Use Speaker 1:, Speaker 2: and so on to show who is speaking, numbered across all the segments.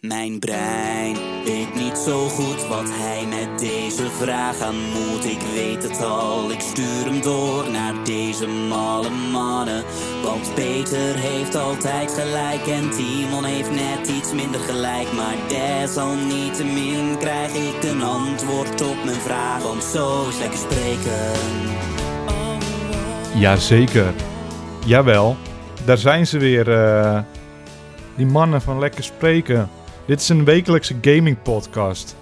Speaker 1: Mijn brein weet niet zo goed wat hij met deze vraag aan moet. Ik weet het al, ik stuur hem door naar deze malle mannen. Want Peter heeft altijd gelijk en Timon heeft net iets minder gelijk. Maar desalniettemin krijg ik een antwoord op mijn vraag. Want zo is lekker spreken.
Speaker 2: Jazeker. Jawel, daar zijn ze weer. eh, die mannen van Lekker Spreken. Dit is een wekelijkse gaming podcast.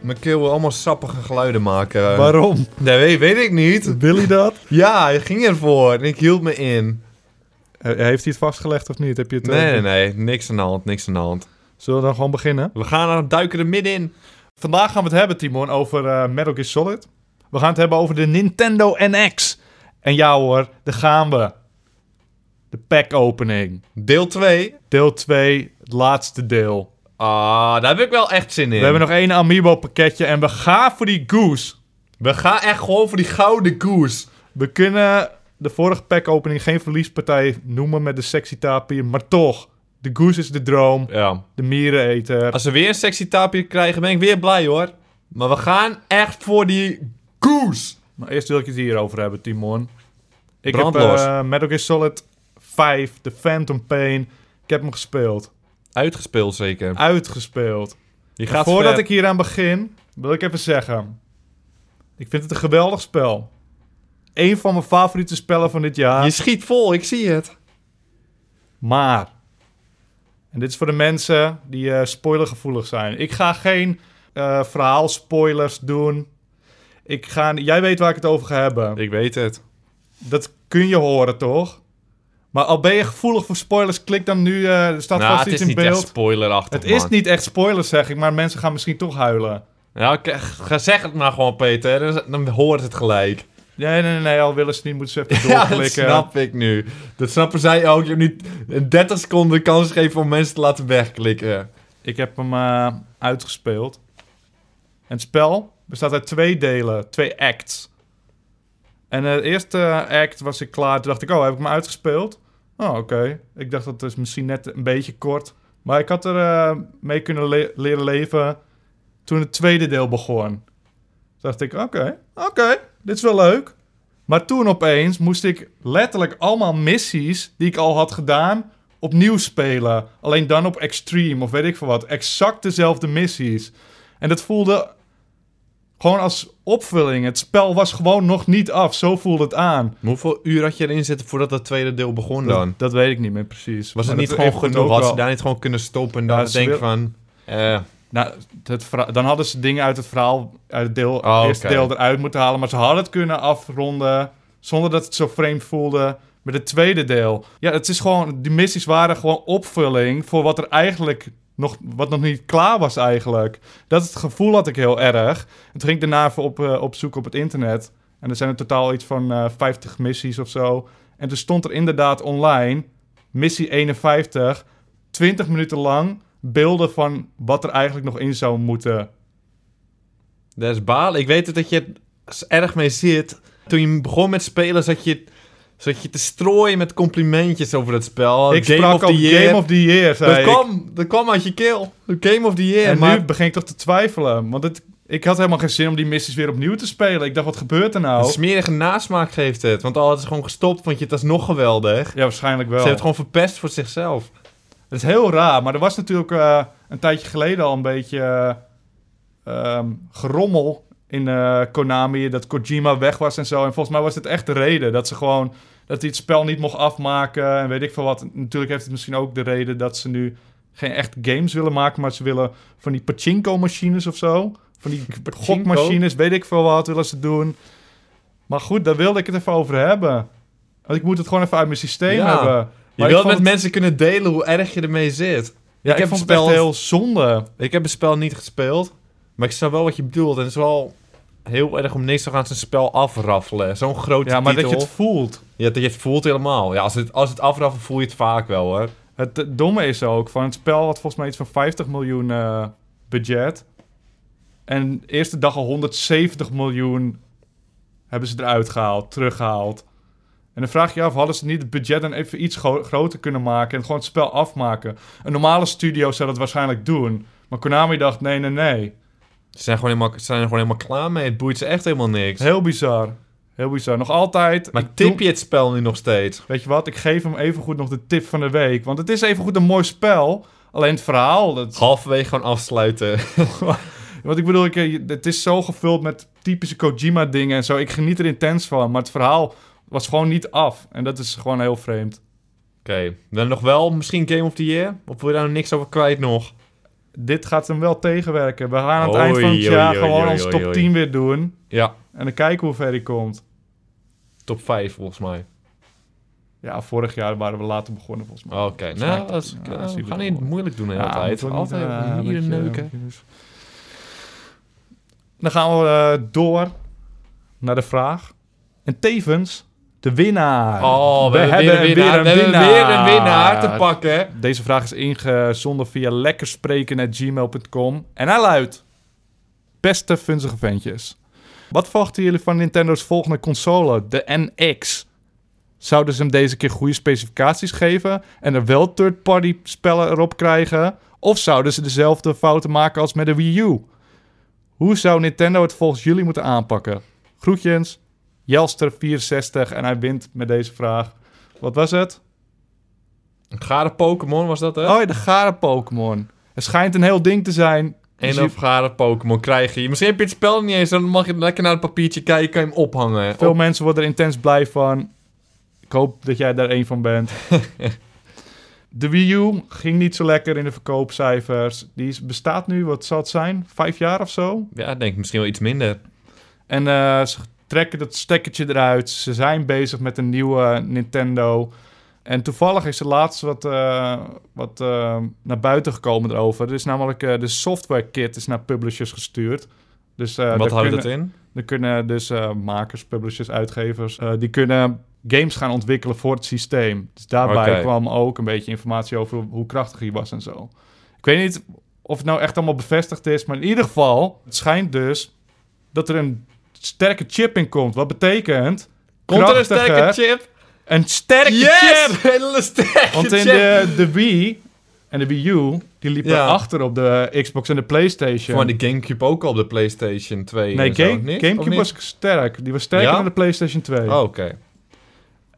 Speaker 3: Mijn keel wil allemaal sappige geluiden maken.
Speaker 2: Waarom?
Speaker 3: Nee, weet, weet ik niet.
Speaker 2: Wil hij dat?
Speaker 3: Ja, hij ging ervoor en ik hield me in.
Speaker 2: Eh, Heeft hij het vastgelegd of niet? Heb je het, eh,
Speaker 3: Nee, nee, nee. Niks aan de hand, niks aan de hand.
Speaker 2: Zullen we dan gewoon beginnen?
Speaker 3: We gaan er duiken er middenin.
Speaker 2: Vandaag gaan we het hebben, Timon, over eh, Metal Gear Solid. We gaan het hebben over de Nintendo NX. En ja hoor, daar gaan we. De pack opening.
Speaker 3: Deel 2.
Speaker 2: Deel 2, het laatste deel.
Speaker 3: Ah, daar heb ik wel echt zin in.
Speaker 2: We hebben nog één Amiibo pakketje en we gaan voor die Goose.
Speaker 3: We gaan echt gewoon voor die gouden koers.
Speaker 2: We kunnen de vorige packopening geen verliespartij noemen met de sexy tapir, maar toch. De goose is de droom,
Speaker 3: Ja.
Speaker 2: de miereneter.
Speaker 3: Als we weer een sexy tapje krijgen, ben ik weer blij hoor. Maar we gaan echt voor die koers.
Speaker 2: Maar eerst wil ik het hierover hebben, Timon. Ik heb
Speaker 3: Brandlos.
Speaker 2: eh Metal Gear Solid 5, The Phantom Pain. Ik heb hem gespeeld,
Speaker 3: Uitgespeeld zeker.
Speaker 2: uitgespeeld.
Speaker 3: Je gaat
Speaker 2: Voordat
Speaker 3: ver.
Speaker 2: ik hier aan begin, wil ik even zeggen. Ik vind het een geweldig spel. Eén van mijn favoriete spellen van dit jaar.
Speaker 3: Je schiet vol, ik zie het.
Speaker 2: Maar, en dit is voor de mensen die eh, spoilergevoelig zijn. Ik ga geen eh verhaalspoilers doen. Ik ga, jij weet waar ik het over ga hebben.
Speaker 3: Ik weet het.
Speaker 2: Dat kun je horen, toch? Maar al ben je gevoelig voor spoilers, klik dan nu. eh, er staat
Speaker 3: Nou,
Speaker 2: vast
Speaker 3: het
Speaker 2: iets
Speaker 3: is
Speaker 2: in
Speaker 3: niet echt
Speaker 2: beeld.
Speaker 3: spoilerachtig,
Speaker 2: Het is
Speaker 3: man.
Speaker 2: niet echt spoilers, zeg ik, maar mensen gaan misschien toch huilen.
Speaker 3: Ja, oké, ga zeg het maar gewoon, Peter. Dan, dan hoort het gelijk.
Speaker 2: Nee, nee, nee, nee, al willen ze niet, moeten ze even
Speaker 3: Ja, dat
Speaker 2: doorklikken.
Speaker 3: snap ik nu. Dat snappen zij ook. Je hebt nu een 30 seconden kans gegeven om mensen te laten wegklikken.
Speaker 2: Ik heb hem eh, uitgespeeld. En het spel bestaat uit twee delen, twee acts. En eh, de eerste act was ik klaar. Toen dacht ik, oh, heb ik hem uitgespeeld? Oh, oké. Ik dacht, dat is misschien net een beetje kort. Maar ik had er eh, mee kunnen le- leren leven toen het tweede deel begon. Toen dacht ik, oké, oké, dit is wel leuk. Maar toen opeens moest ik letterlijk allemaal missies die ik al had gedaan opnieuw spelen. Alleen dan op extreme of weet ik veel wat. Exact dezelfde missies. En dat voelde gewoon als opvulling. Het spel was gewoon nog niet af. Zo voelde het aan.
Speaker 3: Maar hoeveel uur had je erin zitten voordat dat tweede deel begon dan?
Speaker 2: Dat, dat weet ik niet meer precies.
Speaker 3: Was het
Speaker 2: Maar
Speaker 3: niet
Speaker 2: dat
Speaker 3: gewoon
Speaker 2: heeft het
Speaker 3: genoeg?
Speaker 2: ook
Speaker 3: Had ze
Speaker 2: wel-
Speaker 3: daar niet gewoon kunnen stoppen en dan
Speaker 2: Ja, ze
Speaker 3: denken
Speaker 2: wil-
Speaker 3: van... eh,
Speaker 2: Nou, het verha- dan hadden ze dingen uit het verhaal, uit het deel,
Speaker 3: Oh,
Speaker 2: eerste
Speaker 3: oké.
Speaker 2: deel eruit moeten halen. Maar ze hadden het kunnen afronden zonder dat het zo vreemd voelde met het tweede deel. Ja, het is gewoon, die missies waren gewoon opvulling voor wat er eigenlijk nog, wat nog niet klaar was eigenlijk. Dat het gevoel had ik heel erg. En toen ging ik daarna even op, eh, op zoek op het internet. En er zijn in totaal iets van eh 50 missies of zo. En toen stond er inderdaad online, missie 51, 20 minuten lang beelden van wat er eigenlijk nog in zou moeten.
Speaker 3: dat is baal. Ik weet het dat je er erg mee zit. Toen je begon met spelen zat je, zat je te strooien met complimentjes over het spel.
Speaker 2: ik sprak
Speaker 3: Oh, of
Speaker 2: al
Speaker 3: the year.
Speaker 2: Game of the Year, zei
Speaker 3: dat
Speaker 2: ik.
Speaker 3: kwam, dat kwam uit je keel. Game of the Year.
Speaker 2: En
Speaker 3: maar
Speaker 2: nu begin ik toch te twijfelen. Want het, ik had helemaal geen zin om die missies weer opnieuw te spelen. Ik dacht, wat gebeurt er
Speaker 3: Een
Speaker 2: nou?
Speaker 3: smerige nasmaak geeft het. Want al hadden ze gewoon gestopt, vond je het alsnog geweldig. Ze
Speaker 2: Ja, waarschijnlijk wel.
Speaker 3: hebben het gewoon verpest voor zichzelf.
Speaker 2: Dat is heel raar. Maar er was natuurlijk eh, een tijdje geleden al een beetje eh, ehm, gerommel in eh, Konami. Dat Kojima weg was en zo. En volgens mij was dit echt de reden. Dat ze gewoon... Dat hij het spel niet mocht afmaken en weet ik veel wat. Natuurlijk heeft het misschien ook de reden dat ze nu geen echt games willen maken. Maar ze willen van die pachinko-machines of zo. Van die gokmachines, weet ik veel wat, willen ze doen. Maar goed, daar wilde ik het even over hebben. Want ik moet het gewoon even uit mijn systeem
Speaker 3: Ja.
Speaker 2: hebben.
Speaker 3: Je
Speaker 2: Maar ik
Speaker 3: wilt
Speaker 2: vond
Speaker 3: met
Speaker 2: het-
Speaker 3: mensen kunnen delen hoe erg je ermee zit.
Speaker 2: ja, ik,
Speaker 3: heb
Speaker 2: vond
Speaker 3: het
Speaker 2: het echt
Speaker 3: spel-
Speaker 2: heel zonde.
Speaker 3: Ik heb het spel niet gespeeld. Maar ik snap wel wat je bedoelt. En het is wel heel erg om niks te gaan zijn spel afraffelen. Zo'n grote
Speaker 2: Ja, maar
Speaker 3: titel.
Speaker 2: dat je het voelt.
Speaker 3: Ja, dat je het voelt helemaal. Ja, als het, als het afraffelt voel je het vaak wel hoor.
Speaker 2: Het eh, domme is ook, van het spel had volgens mij iets van 50 miljoen eh, budget. En de eerste dag al 170 miljoen hebben ze eruit gehaald, teruggehaald. En dan vraag je je af, hadden ze niet het budget dan even iets gro- groter kunnen maken en gewoon het spel afmaken? Een normale studio zou dat waarschijnlijk doen. Maar Konami dacht, nee, nee, nee.
Speaker 3: Ze zijn, gewoon helemaal, ze zijn er gewoon helemaal klaar mee. Het boeit ze echt helemaal niks.
Speaker 2: Heel bizar. Heel bizar. Nog altijd.
Speaker 3: Maar
Speaker 2: ik
Speaker 3: tip
Speaker 2: doe-
Speaker 3: je het spel nu nog steeds?
Speaker 2: Weet je wat, ik geef hem evengoed nog de tip van de week. Want het is evengoed een mooi spel. Alleen het verhaal, dat
Speaker 3: Halverwege gewoon afsluiten.
Speaker 2: Want ik bedoel, ik, eh, je- het is zo gevuld met typische Kojima-dingen en zo. Ik geniet er intens van, maar het verhaal was gewoon niet af. En dat is gewoon heel vreemd.
Speaker 3: Oké, dan nog wel misschien Game of the Year? Of wil je daar nog niks over kwijt nog?
Speaker 2: Dit gaat hem wel tegenwerken. We gaan aan het eind
Speaker 3: Oei,
Speaker 2: van het
Speaker 3: oei,
Speaker 2: jaar
Speaker 3: oei,
Speaker 2: gewoon
Speaker 3: oei,
Speaker 2: ons
Speaker 3: oei,
Speaker 2: top
Speaker 3: oei.
Speaker 2: 10 weer doen.
Speaker 3: Ja,
Speaker 2: En dan kijken hoe ver die komt.
Speaker 3: top 5 volgens mij.
Speaker 2: Ja, vorig jaar waren we later begonnen volgens mij.
Speaker 3: Oké,
Speaker 2: mij
Speaker 3: nou,
Speaker 2: top-
Speaker 3: dat is-
Speaker 2: ja,
Speaker 3: eh,
Speaker 2: dat zie
Speaker 3: we
Speaker 2: je
Speaker 3: gaan
Speaker 2: wel.
Speaker 3: niet moeilijk doen hè,
Speaker 2: Ja,
Speaker 3: altijd.
Speaker 2: moeten we
Speaker 3: Altijd
Speaker 2: niet, eh,
Speaker 3: hier
Speaker 2: weet je,
Speaker 3: neuken.
Speaker 2: weet je. Dan gaan we eh, door naar de vraag. En tevens de winnaar.
Speaker 3: Oh, we, hebben weer een winnaar. We hebben weer een winnaar te pakken.
Speaker 2: Deze vraag is ingezonden via lekkerspreken.gmail.com. En hij luidt... Beste funzige ventjes. Wat verwachten jullie van Nintendo's volgende console, de NX? Zouden ze hem deze keer goede specificaties geven en er wel third-party spellen erop krijgen? Of zouden ze dezelfde fouten maken als met de Wii U? Hoe zou Nintendo het volgens jullie moeten aanpakken? Groetjens, Jelster64 en hij wint met deze vraag. Wat was het?
Speaker 3: Gare Pokémon was dat, hè?
Speaker 2: Oh, ja, de gare Pokémon. Het schijnt een heel ding te zijn. Dus
Speaker 3: Eén of
Speaker 2: je-
Speaker 3: gare Pokémon krijg je. Misschien heb je het spel niet eens, dan mag je lekker naar het papiertje kijken, kan je hem ophangen.
Speaker 2: Veel
Speaker 3: Op-
Speaker 2: mensen worden er intens blij van. Ik hoop dat jij daar één van bent. de Wii U ging niet zo lekker in de verkoopcijfers. Die is- bestaat nu, wat zal het zijn? Vijf jaar of zo?
Speaker 3: Ja, ik denk misschien wel iets minder.
Speaker 2: En eh, ze trekken dat stekkertje eruit. Ze zijn bezig met een nieuwe Nintendo. En toevallig is er laatst wat, eh, wat eh, naar buiten gekomen erover. Er is namelijk eh, de software kit is naar publishers gestuurd. Dus, eh, daar
Speaker 3: Wat houdt
Speaker 2: kunnen-
Speaker 3: dat in?
Speaker 2: Er kunnen dus eh, makers, publishers, uitgevers, eh, die kunnen games gaan ontwikkelen voor het systeem. Dus daarbij
Speaker 3: Oké.
Speaker 2: kwam ook een beetje informatie over hoe krachtig hij was en zo. Ik weet niet of het nou echt allemaal bevestigd is, maar in ieder geval, het schijnt dus dat er een sterke chip in komt. Wat betekent?
Speaker 3: Komt er een
Speaker 2: krachtiger-
Speaker 3: sterke chip?
Speaker 2: Een sterke chip!
Speaker 3: Yes! Hele sterke
Speaker 2: Want in
Speaker 3: chip!
Speaker 2: de, de Wii en de Wii U, die liepen
Speaker 3: Ja.
Speaker 2: achter op de Xbox en de PlayStation.
Speaker 3: Maar de Gamecube ook al op de PlayStation 2
Speaker 2: nee,
Speaker 3: en zo,
Speaker 2: Game-
Speaker 3: niet? Of
Speaker 2: Gamecube
Speaker 3: niet?
Speaker 2: was sterk. Die was sterker
Speaker 3: Ja?
Speaker 2: dan de PlayStation 2.
Speaker 3: Oh, oké.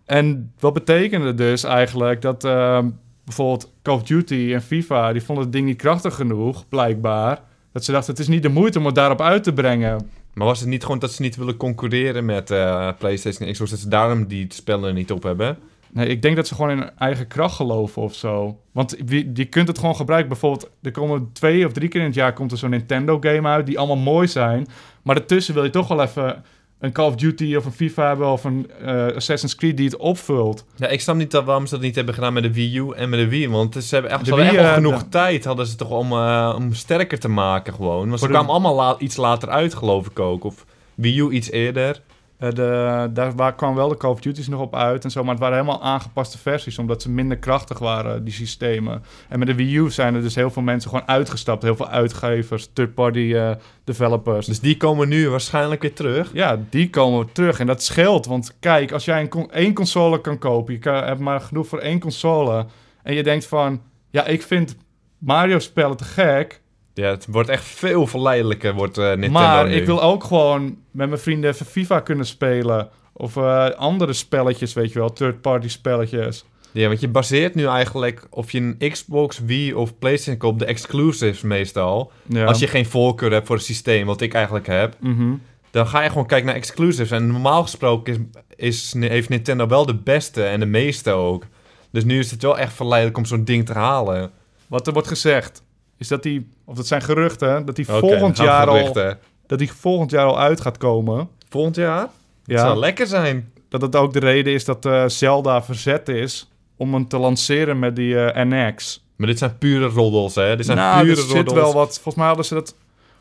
Speaker 2: En wat betekende dus eigenlijk dat ehm, bijvoorbeeld Call of Duty en FIFA, die vonden het ding niet krachtig genoeg, blijkbaar. Dat ze dachten, het is niet de moeite om het daarop uit te brengen.
Speaker 3: Maar was het niet gewoon dat ze niet willen concurreren met eh, PlayStation en Xbox, dat ze daarom die spellen niet op hebben?
Speaker 2: Nee, ik denk dat ze gewoon in hun eigen kracht geloven of zo. Want wie- je kunt het gewoon gebruiken. Bijvoorbeeld, er komen twee of drie keer in het jaar komt er zo'n Nintendo-game uit, die allemaal mooi zijn. Maar daartussen wil je toch wel even een Call of Duty of een FIFA hebben of een eh, Assassin's Creed die het opvult.
Speaker 3: Ja, ik snap niet dat, waarom ze dat niet hebben gedaan met de Wii U en met de Wii. Want ze hebben echt,
Speaker 2: De
Speaker 3: ze hadden
Speaker 2: Wii,
Speaker 3: echt wel
Speaker 2: eh,
Speaker 3: genoeg
Speaker 2: de-
Speaker 3: tijd hadden ze toch om, eh, om sterker te maken gewoon. Want ze
Speaker 2: Voor de-
Speaker 3: kwamen allemaal la- iets later uit, geloof ik ook. Of Wii U iets eerder.
Speaker 2: Eh, de, daar waar kwam wel de Call of Duty's nog op uit en zo, maar het waren helemaal aangepaste versies, omdat ze minder krachtig waren, die systemen. En met de Wii U zijn er dus heel veel mensen gewoon uitgestapt, heel veel uitgevers, third-party eh, developers.
Speaker 3: Dus die komen nu waarschijnlijk weer terug.
Speaker 2: ja, die komen we terug en dat scheelt, want kijk, als jij een con- één console kan kopen, je kan, hebt maar genoeg voor één console, en je denkt van, ja, ik vind Mario-spellen te gek,
Speaker 3: Ja, het wordt echt veel verleidelijker, wordt eh Nintendo
Speaker 2: maar
Speaker 3: nu.
Speaker 2: ik wil ook gewoon met mijn vrienden even FIFA kunnen spelen. Of eh, andere spelletjes, weet je wel, third-party spelletjes.
Speaker 3: Ja, want je baseert nu eigenlijk of je een Xbox, Wii of PlayStation koopt, de exclusives meestal.
Speaker 2: Ja.
Speaker 3: Als je geen voorkeur hebt voor het systeem, wat ik eigenlijk heb,
Speaker 2: Mhm.
Speaker 3: dan ga je gewoon kijken naar exclusives. En normaal gesproken is, is, heeft Nintendo wel de beste en de meeste ook. Dus nu is het wel echt verleidelijk om zo'n ding te halen.
Speaker 2: Wat er wordt gezegd, is dat die, of dat zijn geruchten, dat die
Speaker 3: Oké,
Speaker 2: volgend,
Speaker 3: dan gaan
Speaker 2: jaar
Speaker 3: we
Speaker 2: al,
Speaker 3: geruchten.
Speaker 2: dat die volgend jaar al uit gaat komen.
Speaker 3: Volgend jaar? Het zou
Speaker 2: Ja,
Speaker 3: lekker zijn.
Speaker 2: dat dat ook de reden is dat eh, Zelda verzet is om hem te lanceren met die eh, NX.
Speaker 3: Maar dit zijn pure roddels, hè? Dit zijn
Speaker 2: nou,
Speaker 3: pure
Speaker 2: er zit
Speaker 3: roddels.
Speaker 2: wel wat. Volgens mij hadden ze dat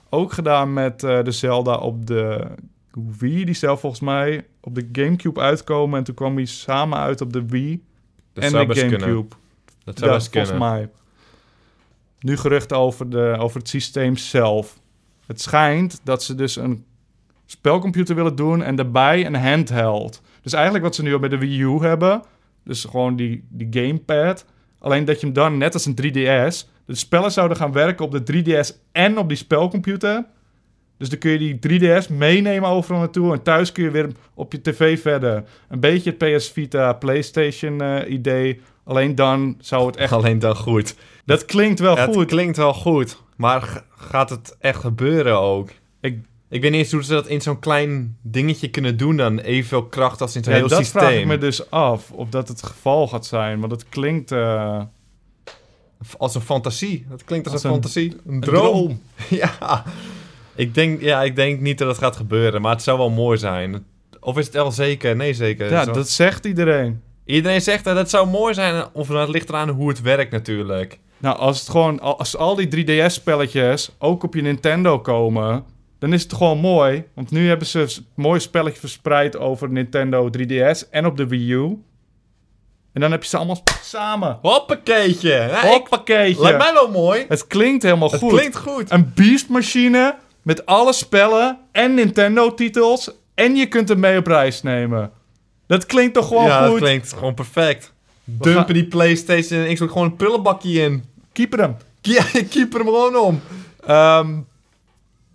Speaker 2: ook gedaan met eh, de Zelda op de Wii. Die zou volgens mij op de Gamecube uitkomen. En toen kwam die samen uit op de Wii
Speaker 3: dat
Speaker 2: en
Speaker 3: zou
Speaker 2: de
Speaker 3: best
Speaker 2: Gamecube.
Speaker 3: kunnen. Dat zou
Speaker 2: Ja,
Speaker 3: best kunnen.
Speaker 2: Volgens mij. Nu geruchten over, de, over het systeem zelf. Het schijnt dat ze dus een spelcomputer willen doen en daarbij een handheld. Dus eigenlijk wat ze nu al bij de Wii U hebben, dus gewoon die, die gamepad. Alleen dat je hem dan, net als een 3DS, de spellen zouden gaan werken op de 3DS en op die spelcomputer. Dus dan kun je die 3DS meenemen overal naartoe en thuis kun je weer op je tv verder. Een beetje het PS Vita, PlayStation eh, idee. Alleen dan zou het echt...
Speaker 3: Alleen dan goed.
Speaker 2: Dat klinkt wel
Speaker 3: het
Speaker 2: goed.
Speaker 3: klinkt wel goed, maar g- gaat het echt gebeuren ook?
Speaker 2: Ik-
Speaker 3: ik weet niet eens hoe ze dat in zo'n klein dingetje kunnen doen dan. Evenveel kracht als in zo'n
Speaker 2: Ja,
Speaker 3: heel
Speaker 2: dat
Speaker 3: systeem.
Speaker 2: vraag ik me dus af, of dat het geval gaat zijn. Want het klinkt... eh,
Speaker 3: Als een fantasie. Dat klinkt als,
Speaker 2: Als
Speaker 3: een,
Speaker 2: een-
Speaker 3: fantasie. Een,
Speaker 2: droom.
Speaker 3: ja. Ik denk, ja, ik denk niet dat het gaat gebeuren, maar het zou wel mooi zijn. Of is het wel zeker? Nee, zeker.
Speaker 2: ja,
Speaker 3: Het zou-
Speaker 2: dat zegt iedereen.
Speaker 3: Iedereen zegt dat het zou mooi zijn, of nou, het ligt eraan hoe het werkt natuurlijk.
Speaker 2: Nou, als het gewoon... al- Als al die 3DS-spelletjes ook op je Nintendo komen... Dan is het gewoon mooi. Want nu hebben ze s- mooi spelletje verspreid over Nintendo 3DS en op de Wii U. En dan heb je ze allemaal s- samen.
Speaker 3: Hoppakeetje! Ja, ik-
Speaker 2: Hoppakeetje.
Speaker 3: Lijkt mij wel mooi.
Speaker 2: Het klinkt helemaal
Speaker 3: Het
Speaker 2: goed.
Speaker 3: klinkt goed.
Speaker 2: Een beastmachine met alle spellen en Nintendo-titels. En je kunt hem mee op reis nemen. Dat klinkt toch gewoon
Speaker 3: ja,
Speaker 2: goed?
Speaker 3: het klinkt gewoon perfect.
Speaker 2: We
Speaker 3: Dumpen
Speaker 2: gaan-
Speaker 3: die PlayStation en Xbox gewoon een prullenbakje in.
Speaker 2: Keeper hem.
Speaker 3: Ja, ik keep er hem gewoon om.
Speaker 2: Ehm,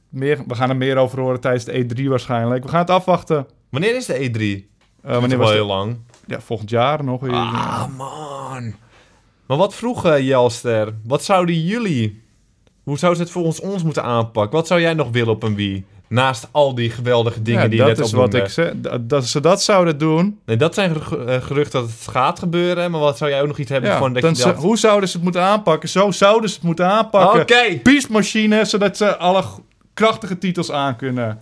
Speaker 2: meer, we gaan er meer over horen tijdens de E3 waarschijnlijk. We gaan het afwachten.
Speaker 3: Wanneer is de E3?
Speaker 2: Eh,
Speaker 3: Dat is
Speaker 2: wanneer
Speaker 3: wel
Speaker 2: was
Speaker 3: heel
Speaker 2: het?
Speaker 3: lang.
Speaker 2: Ja, volgend jaar nog weer. eh,
Speaker 3: Ah, man. Maar wat vroeg eh, Jelster? Wat zouden jullie... Hoe zouden ze het volgens ons moeten aanpakken? Wat zou jij nog willen op een Wii? Naast al die geweldige dingen
Speaker 2: Ja,
Speaker 3: die je
Speaker 2: dat
Speaker 3: net eh,
Speaker 2: is wat
Speaker 3: opnoemde.
Speaker 2: ik zeg. Dat, dat ze dat zouden doen.
Speaker 3: Nee, dat zijn geru- eh, geruchten dat het gaat gebeuren. Maar wat zou jij ook nog iets hebben
Speaker 2: Ja,
Speaker 3: van dat
Speaker 2: dan
Speaker 3: je
Speaker 2: ze-
Speaker 3: dacht...
Speaker 2: hoe zouden ze het moeten aanpakken? Zo zouden ze het moeten
Speaker 3: Oké!
Speaker 2: aanpakken. beastmachine, zodat ze alle g- krachtige titels aan kunnen.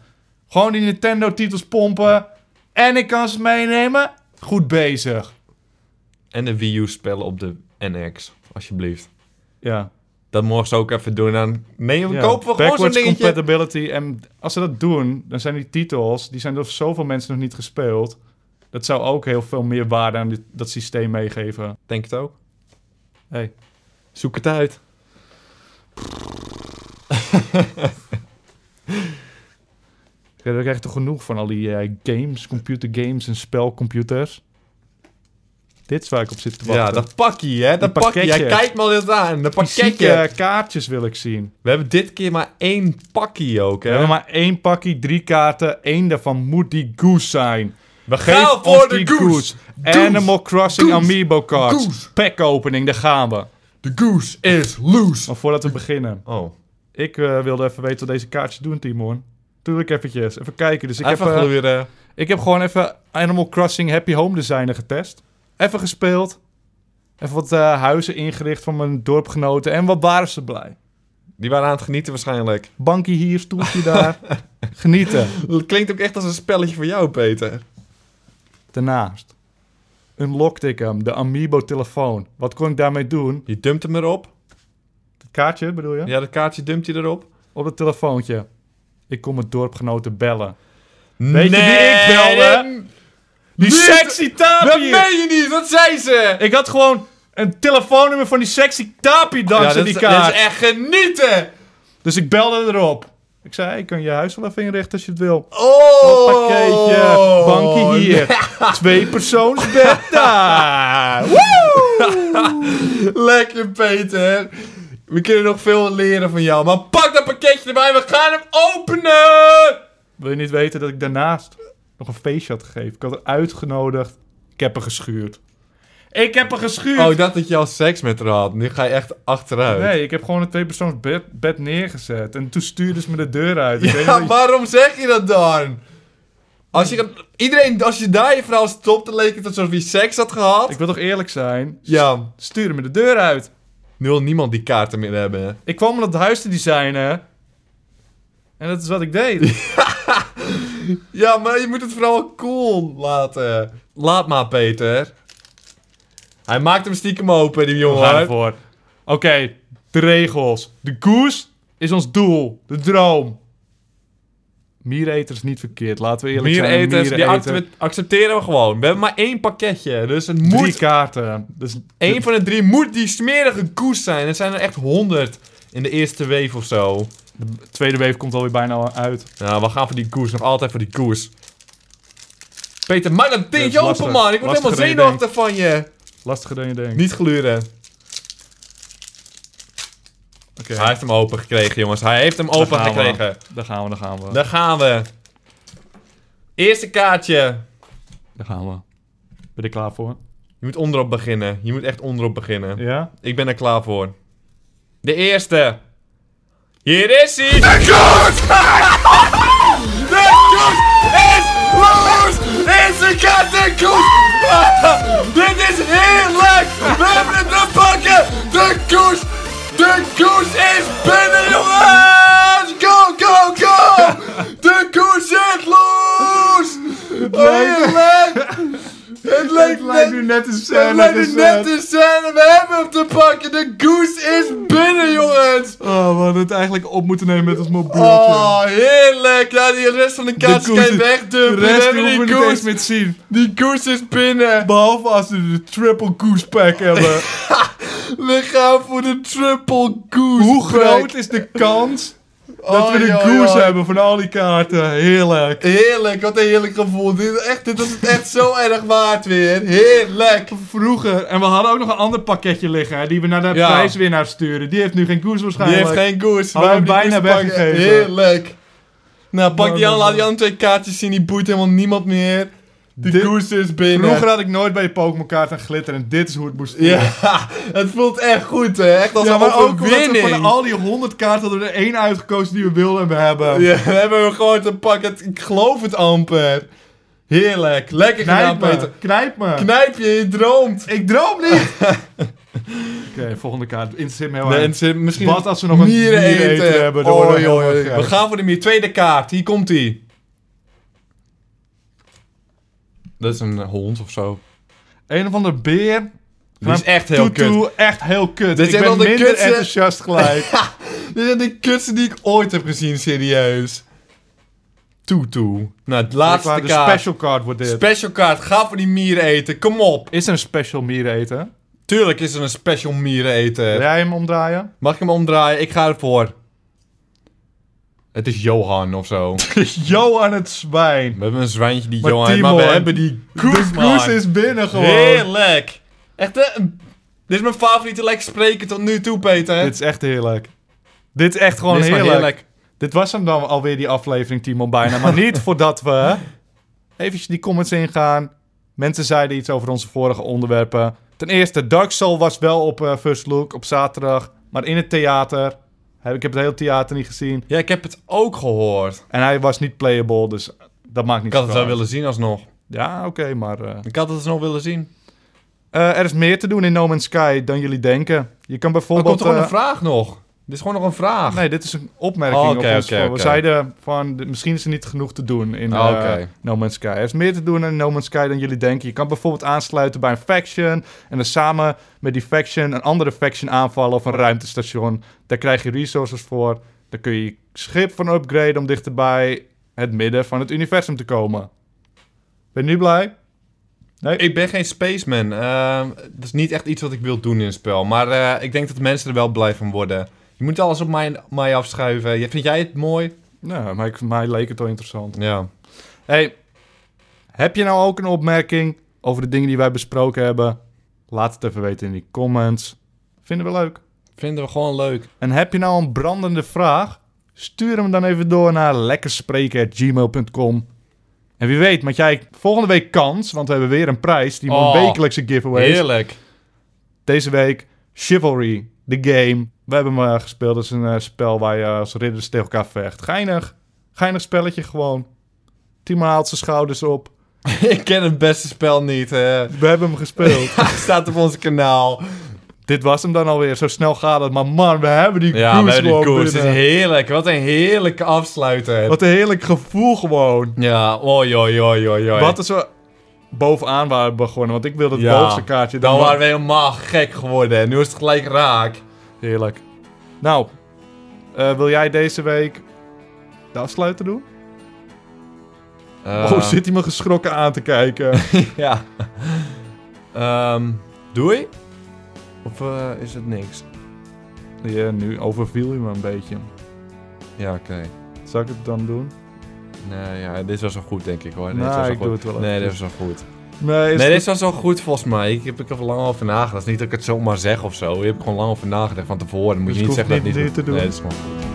Speaker 2: Gewoon die Nintendo-titels pompen. En ik kan ze meenemen. Goed bezig.
Speaker 3: En de Wii U-spellen op de NX, alsjeblieft.
Speaker 2: Ja.
Speaker 3: Dat mogen ze ook even doen. Dan nee, we
Speaker 2: ja.
Speaker 3: kopen we gewoon zo'n
Speaker 2: Backwards
Speaker 3: dingetje.
Speaker 2: compatibility. En als ze dat doen, dan zijn die titels... die zijn door zoveel mensen nog niet gespeeld. Dat zou ook heel veel meer waarde aan dit, dat systeem meegeven.
Speaker 3: Denk het ook.
Speaker 2: Hey.
Speaker 3: Zoek het uit.
Speaker 2: Ja, Daar krijg je toch genoeg van al die eh, games, computergames en spelcomputers. Dit is waar ik op zit te wachten.
Speaker 3: Ja, dat pakje, hè. Dat
Speaker 2: Een
Speaker 3: pakje. Jij
Speaker 2: pakketje.
Speaker 3: kijkt me al eens aan. Dat
Speaker 2: Fysieke
Speaker 3: pakketje.
Speaker 2: kaartjes wil ik zien.
Speaker 3: We hebben dit keer maar één pakje ook,
Speaker 2: We
Speaker 3: hè.
Speaker 2: hebben maar één pakje, drie kaarten. Eén daarvan moet die goose zijn.
Speaker 3: We
Speaker 2: Geef
Speaker 3: gaan
Speaker 2: ons
Speaker 3: voor de
Speaker 2: die
Speaker 3: goose. Goose.
Speaker 2: Animal Crossing
Speaker 3: Goose.
Speaker 2: Amiibo cards.
Speaker 3: Goose.
Speaker 2: Pack opening, daar gaan we.
Speaker 3: De goose is loose.
Speaker 2: Maar voordat we beginnen.
Speaker 3: Oh,
Speaker 2: Ik eh, wilde even weten wat deze kaartjes doen, Timon. Tuurlijk eventjes. Even kijken. Dus ik,
Speaker 3: even
Speaker 2: heb, eh,
Speaker 3: gluren.
Speaker 2: ik heb gewoon even Animal Crossing Happy Home Designer getest. Even gespeeld. Even wat eh, huizen ingericht van mijn dorpgenoten. En wat waren ze blij.
Speaker 3: Die waren aan het genieten waarschijnlijk.
Speaker 2: Bankje hier, stoeltje daar. Genieten.
Speaker 3: Dat klinkt ook echt als een spelletje voor jou, Peter.
Speaker 2: Daarnaast unlockte ik hem, de Amiibo-telefoon. Wat kon ik daarmee doen?
Speaker 3: Je dumpt hem erop.
Speaker 2: Het kaartje bedoel je?
Speaker 3: Ja, dat kaartje dumpt hij erop.
Speaker 2: Op het telefoontje. Ik kon mijn dorpgenoten bellen.
Speaker 3: Weet
Speaker 2: je wie ik belde? Die
Speaker 3: Niet-
Speaker 2: sexy
Speaker 3: Dat
Speaker 2: tapie!
Speaker 3: meen je niet, wat zei ze?
Speaker 2: Ik had gewoon een telefoonnummer van die sexy tapie dankzij
Speaker 3: dat,
Speaker 2: die
Speaker 3: is,
Speaker 2: kaart.
Speaker 3: dat is echt genieten!
Speaker 2: Dus ik belde erop. Ik zei, ik kan je huis wel even inrichten als je het wil.
Speaker 3: Oh!
Speaker 2: Pakketje, bankje hier. Twee persoonsbed daar.
Speaker 3: Lekker, Peter. We kunnen nog veel leren van jou, maar pak dat pakketje erbij, we gaan hem openen!
Speaker 2: Wil je niet weten dat ik daarnaast nog een feestje had gegeven? Ik had haar uitgenodigd. Ik heb haar geschuurd. Ik heb haar geschuurd!
Speaker 3: Oh, ik dacht dat je al seks met haar had. Nu ga je echt achteruit.
Speaker 2: Nee, ik heb gewoon een tweepersoons bed, bed neergezet. En toen stuurde ze me de deur uit. Ik weet
Speaker 3: Ja,
Speaker 2: niet-
Speaker 3: waarom zeg je dat dan? Als je, dat- iedereen, als je daar je verhaal stopt, dan leek het alsof je seks had gehad.
Speaker 2: Ik wil toch eerlijk zijn?
Speaker 3: Ja,
Speaker 2: Stuurde me de deur uit.
Speaker 3: nu wil niemand die kaarten meer hebben. hè.
Speaker 2: Ik kwam om dat huis te designen. En dat is wat ik deed.
Speaker 3: Ja, maar je moet het vooral cool laten. Laat maar, Peter. Hij maakt hem stiekem open, die
Speaker 2: We gaan
Speaker 3: jongen.
Speaker 2: ervoor. Oké, de regels. De koers is ons doel. De droom. Miereter is niet verkeerd. Laten we eerlijk zijn.
Speaker 3: Miereters, die
Speaker 2: miereneter.
Speaker 3: acte- accepteren we gewoon. We hebben maar één pakketje, dus het
Speaker 2: Drie
Speaker 3: moet...
Speaker 2: kaarten. Dus
Speaker 3: Eén van de drie moet die smerige koes zijn. Er zijn er echt honderd in de eerste weef of zo.
Speaker 2: De tweede wave komt alweer bijna uit.
Speaker 3: Nou, we gaan voor die koers. Nog altijd voor die koers. Peter, maak dat dingetje
Speaker 2: is
Speaker 3: open,
Speaker 2: lastig.
Speaker 3: man. Ik word
Speaker 2: Lastiger
Speaker 3: helemaal
Speaker 2: dan je
Speaker 3: zenuwachtig van je.
Speaker 2: Lastiger dan je denkt.
Speaker 3: Niet gluren.
Speaker 2: Oké,
Speaker 3: Hij heeft hem open gekregen, jongens. Hij heeft hem open
Speaker 2: gaan we.
Speaker 3: gekregen.
Speaker 2: daar gaan we, daar gaan we.
Speaker 3: Daar gaan we. Eerste kaartje.
Speaker 2: Daar gaan we. Ben je er klaar voor?
Speaker 3: Je moet onderop beginnen. Je moet echt onderop beginnen.
Speaker 2: Ja?
Speaker 3: Ik ben er klaar voor. De eerste. Hier is hij. De koers! De koers is los! Is de kat de koers! Dit is heerlijk! We hebben het te pakken! De koers! De koers is binnen, jongens! Go, go, go! De koers is los! Heerlijk! Het lijkt net
Speaker 2: nu net een
Speaker 3: we hebben net de scène, we hebben hem te pakken. De goose is binnen, jongens.
Speaker 2: Oh, we hadden het eigenlijk op moeten nemen met ons mobieltje.
Speaker 3: Oh, heerlijk. Ja, die rest van de kaart kan je
Speaker 2: goose- de
Speaker 3: wegdumpen. We
Speaker 2: rest
Speaker 3: hebben
Speaker 2: hoeven we
Speaker 3: die
Speaker 2: niet eens
Speaker 3: goose.
Speaker 2: meer te zien.
Speaker 3: Die goose is binnen.
Speaker 2: Behalve als ze de triple goose pack hebben.
Speaker 3: We gaan voor de triple goose.
Speaker 2: Hoe
Speaker 3: pack.
Speaker 2: groot is de kans dat
Speaker 3: Oh,
Speaker 2: we de
Speaker 3: joh,
Speaker 2: goose
Speaker 3: joh.
Speaker 2: hebben van al die kaarten? Heerlijk.
Speaker 3: Heerlijk, wat een heerlijk gevoel. Dit, echt, dit was het echt zo erg waard weer. Heerlijk.
Speaker 2: Vroeger. En we hadden ook nog een ander pakketje liggen hè, die we naar de
Speaker 3: Ja.
Speaker 2: prijswinnaar sturen. Die heeft nu geen goose
Speaker 3: Die
Speaker 2: waarschijnlijk.
Speaker 3: heeft geen goose.
Speaker 2: Hadden
Speaker 3: Wij
Speaker 2: we
Speaker 3: hebben die
Speaker 2: bijna
Speaker 3: goose te pakken.
Speaker 2: weggegeven.
Speaker 3: Heerlijk. Nou, pak
Speaker 2: Man,
Speaker 3: die aan,
Speaker 2: man,
Speaker 3: laat
Speaker 2: man.
Speaker 3: die andere twee kaartjes zien. Die boeit helemaal niemand meer. De
Speaker 2: Dit-
Speaker 3: goose is binnen.
Speaker 2: Vroeger had ik nooit bij je Pokémon kaart een glitter en dit is hoe het moest voelen.
Speaker 3: Ja, het voelt echt goed, hè? Echt als
Speaker 2: Ja,
Speaker 3: een
Speaker 2: maar ook omdat we van
Speaker 3: overwinning.
Speaker 2: al die 100 kaarten hadden we er één uitgekozen die we wilden en we hebben.
Speaker 3: Ja, we hebben hem gewoon te pakken. Ik geloof het amper. Heerlijk. Lekker gedaan,
Speaker 2: Knijp me,
Speaker 3: Peter.
Speaker 2: knijp me.
Speaker 3: Knijp je, je droomt.
Speaker 2: ik droom niet. Oké, volgende kaart. Interesseert me heel
Speaker 3: Nee,
Speaker 2: erg.
Speaker 3: en ze- misschien
Speaker 2: Wat als we nog een diereneten hebben? Dan
Speaker 3: Oh,
Speaker 2: worden we
Speaker 3: joh,
Speaker 2: helemaal
Speaker 3: joh. We
Speaker 2: gek.
Speaker 3: gaan voor de meer. Tweede kaart. Hier komt ie. Dat is een eh, hond of zo.
Speaker 2: Een of ander beer.
Speaker 3: Die is echt heel kut.
Speaker 2: Toetoe, echt heel kut.
Speaker 3: Dit
Speaker 2: ik
Speaker 3: zijn
Speaker 2: ben
Speaker 3: wel de
Speaker 2: minder
Speaker 3: kutste-
Speaker 2: enthousiast gelijk.
Speaker 3: Dit zijn de kutste die ik ooit heb gezien, serieus. Toetoe. Nou, de laatste
Speaker 2: Klaar, de
Speaker 3: kaart.
Speaker 2: special card wordt dit.
Speaker 3: Special kaart, ga voor die mieren eten, kom op.
Speaker 2: is er een special miereneten?
Speaker 3: Tuurlijk is er een special mieren eten.
Speaker 2: Wil jij hem omdraaien?
Speaker 3: Mag ik hem omdraaien? Ik ga ervoor. Het is Johan of zo.
Speaker 2: Johan het zwijn.
Speaker 3: We hebben een zwijntje die
Speaker 2: Maar
Speaker 3: Johan heeft, maar
Speaker 2: Timon,
Speaker 3: we hebben die koes,
Speaker 2: de
Speaker 3: man.
Speaker 2: koes is binnen gewoon.
Speaker 3: Heerlijk. Echt, hè? dit is mijn favoriete lekker spreken tot nu toe, Peter.
Speaker 2: Dit is echt heerlijk. Dit is echt gewoon
Speaker 3: Dit is maar
Speaker 2: heerlijk. Dit was hem dan alweer, die aflevering, Timon, bijna. Maar niet voordat we even die comments ingaan. Mensen zeiden iets over onze vorige onderwerpen. Ten eerste, Dark Soul was wel op eh, First Look op zaterdag, maar in het theater. Heb- Ik heb het hele theater niet gezien.
Speaker 3: Ja, ik heb het ook gehoord.
Speaker 2: En hij was niet playable, dus dat maakt niet
Speaker 3: Ik had het
Speaker 2: zoveel
Speaker 3: wel willen zien alsnog.
Speaker 2: uit. Ja, oké, maar... eh,
Speaker 3: Ik had het alsnog willen zien.
Speaker 2: eh, er is meer te doen in No Man's Sky dan jullie denken. Je kan
Speaker 3: Er
Speaker 2: bijvoorbeeld...
Speaker 3: komt er gewoon
Speaker 2: eh,
Speaker 3: een vraag nog. Dit is gewoon nog een vraag.
Speaker 2: Nee, dit is een opmerking
Speaker 3: Oh, oké,
Speaker 2: op ons.
Speaker 3: oké,
Speaker 2: voor- We
Speaker 3: oké.
Speaker 2: zeiden van, d- misschien is er niet genoeg te doen in
Speaker 3: Oh,
Speaker 2: eh,
Speaker 3: oké.
Speaker 2: No Man's Sky. Er is meer te doen in No Man's Sky dan jullie denken. Je kan bijvoorbeeld aansluiten bij een faction... en dan samen met die faction een andere faction aanvallen of een ruimtestation. Daar krijg je resources voor. Daar kun je je schip van upgraden om dichterbij het midden van het universum te komen. Ben je nu blij?
Speaker 3: Ik ben geen spaceman. Ehm, dat is niet echt iets wat ik wil doen in een spel. Maar eh, ik denk dat mensen er wel blij van worden. Je moet alles op mij, mij afschuiven. Je- Vind jij het mooi?
Speaker 2: Nou, maar ik, mij leek het wel interessant.
Speaker 3: Ja.
Speaker 2: Hey, heb je nou ook een opmerking over de dingen die wij besproken hebben? Laat het even weten in die comments. Vinden we leuk.
Speaker 3: Vinden we gewoon leuk.
Speaker 2: En heb je nou een brandende vraag? Stuur hem dan even door naar lekkerspreken.gmail.com. En wie weet, maak jij volgende week kans, want we hebben weer een prijs. Die
Speaker 3: Oh,
Speaker 2: een wekelijkse giveaways.
Speaker 3: Heerlijk.
Speaker 2: Deze week Chivalry, The Game. We hebben hem eh, gespeeld. Dat is een eh, spel waar je als ridders tegen elkaar vecht. Geinig. Geinig spelletje gewoon. Timo haalt zijn schouders op.
Speaker 3: ik ken het beste spel niet. eh.
Speaker 2: We hebben hem gespeeld.
Speaker 3: staat op ons kanaal.
Speaker 2: Dit was hem dan alweer. Zo snel gaat het. Maar man, we hebben die
Speaker 3: Ja,
Speaker 2: koers
Speaker 3: we hebben die
Speaker 2: gewoon
Speaker 3: koers. Het is
Speaker 2: binnen.
Speaker 3: heerlijk. Wat een heerlijke afsluiter.
Speaker 2: Wat een heerlijk gevoel gewoon.
Speaker 3: Ja, oi, oi, oi, oi, oi.
Speaker 2: Wat als we bovenaan waren begonnen. Want ik wilde het
Speaker 3: Ja.
Speaker 2: bovenste kaartje.
Speaker 3: Dan
Speaker 2: wa-
Speaker 3: waren we helemaal gek geworden. Nu is het gelijk raak.
Speaker 2: Heerlijk. Nou, eh, wil jij deze week de afsluiter doen? Oh,
Speaker 3: Eh,
Speaker 2: zit hij me geschrokken aan te kijken.
Speaker 3: Ja. Ehm doei? Of eh, is het niks?
Speaker 2: ja, nu overviel je me een beetje.
Speaker 3: Ja, oké.
Speaker 2: Zal ik het dan doen?
Speaker 3: Nee, ja, dit was wel goed, denk ik hoor. Nee,
Speaker 2: Nou,
Speaker 3: dit was
Speaker 2: ik
Speaker 3: goed.
Speaker 2: doe het wel
Speaker 3: Nee,
Speaker 2: even.
Speaker 3: dit was wel goed.
Speaker 2: Nee, is
Speaker 3: nee,
Speaker 2: het-
Speaker 3: dit was wel goed volgens mij. Ik heb ik er lang over nagedacht. Het is niet dat ik het zomaar zeg of zo. Je hebt gewoon lang over nagedacht van tevoren. Dan moet
Speaker 2: Dus
Speaker 3: je niet
Speaker 2: ik hoef
Speaker 3: zeggen
Speaker 2: niet
Speaker 3: dat het niet
Speaker 2: nu te doen.
Speaker 3: Nee, dat is gewoon goed.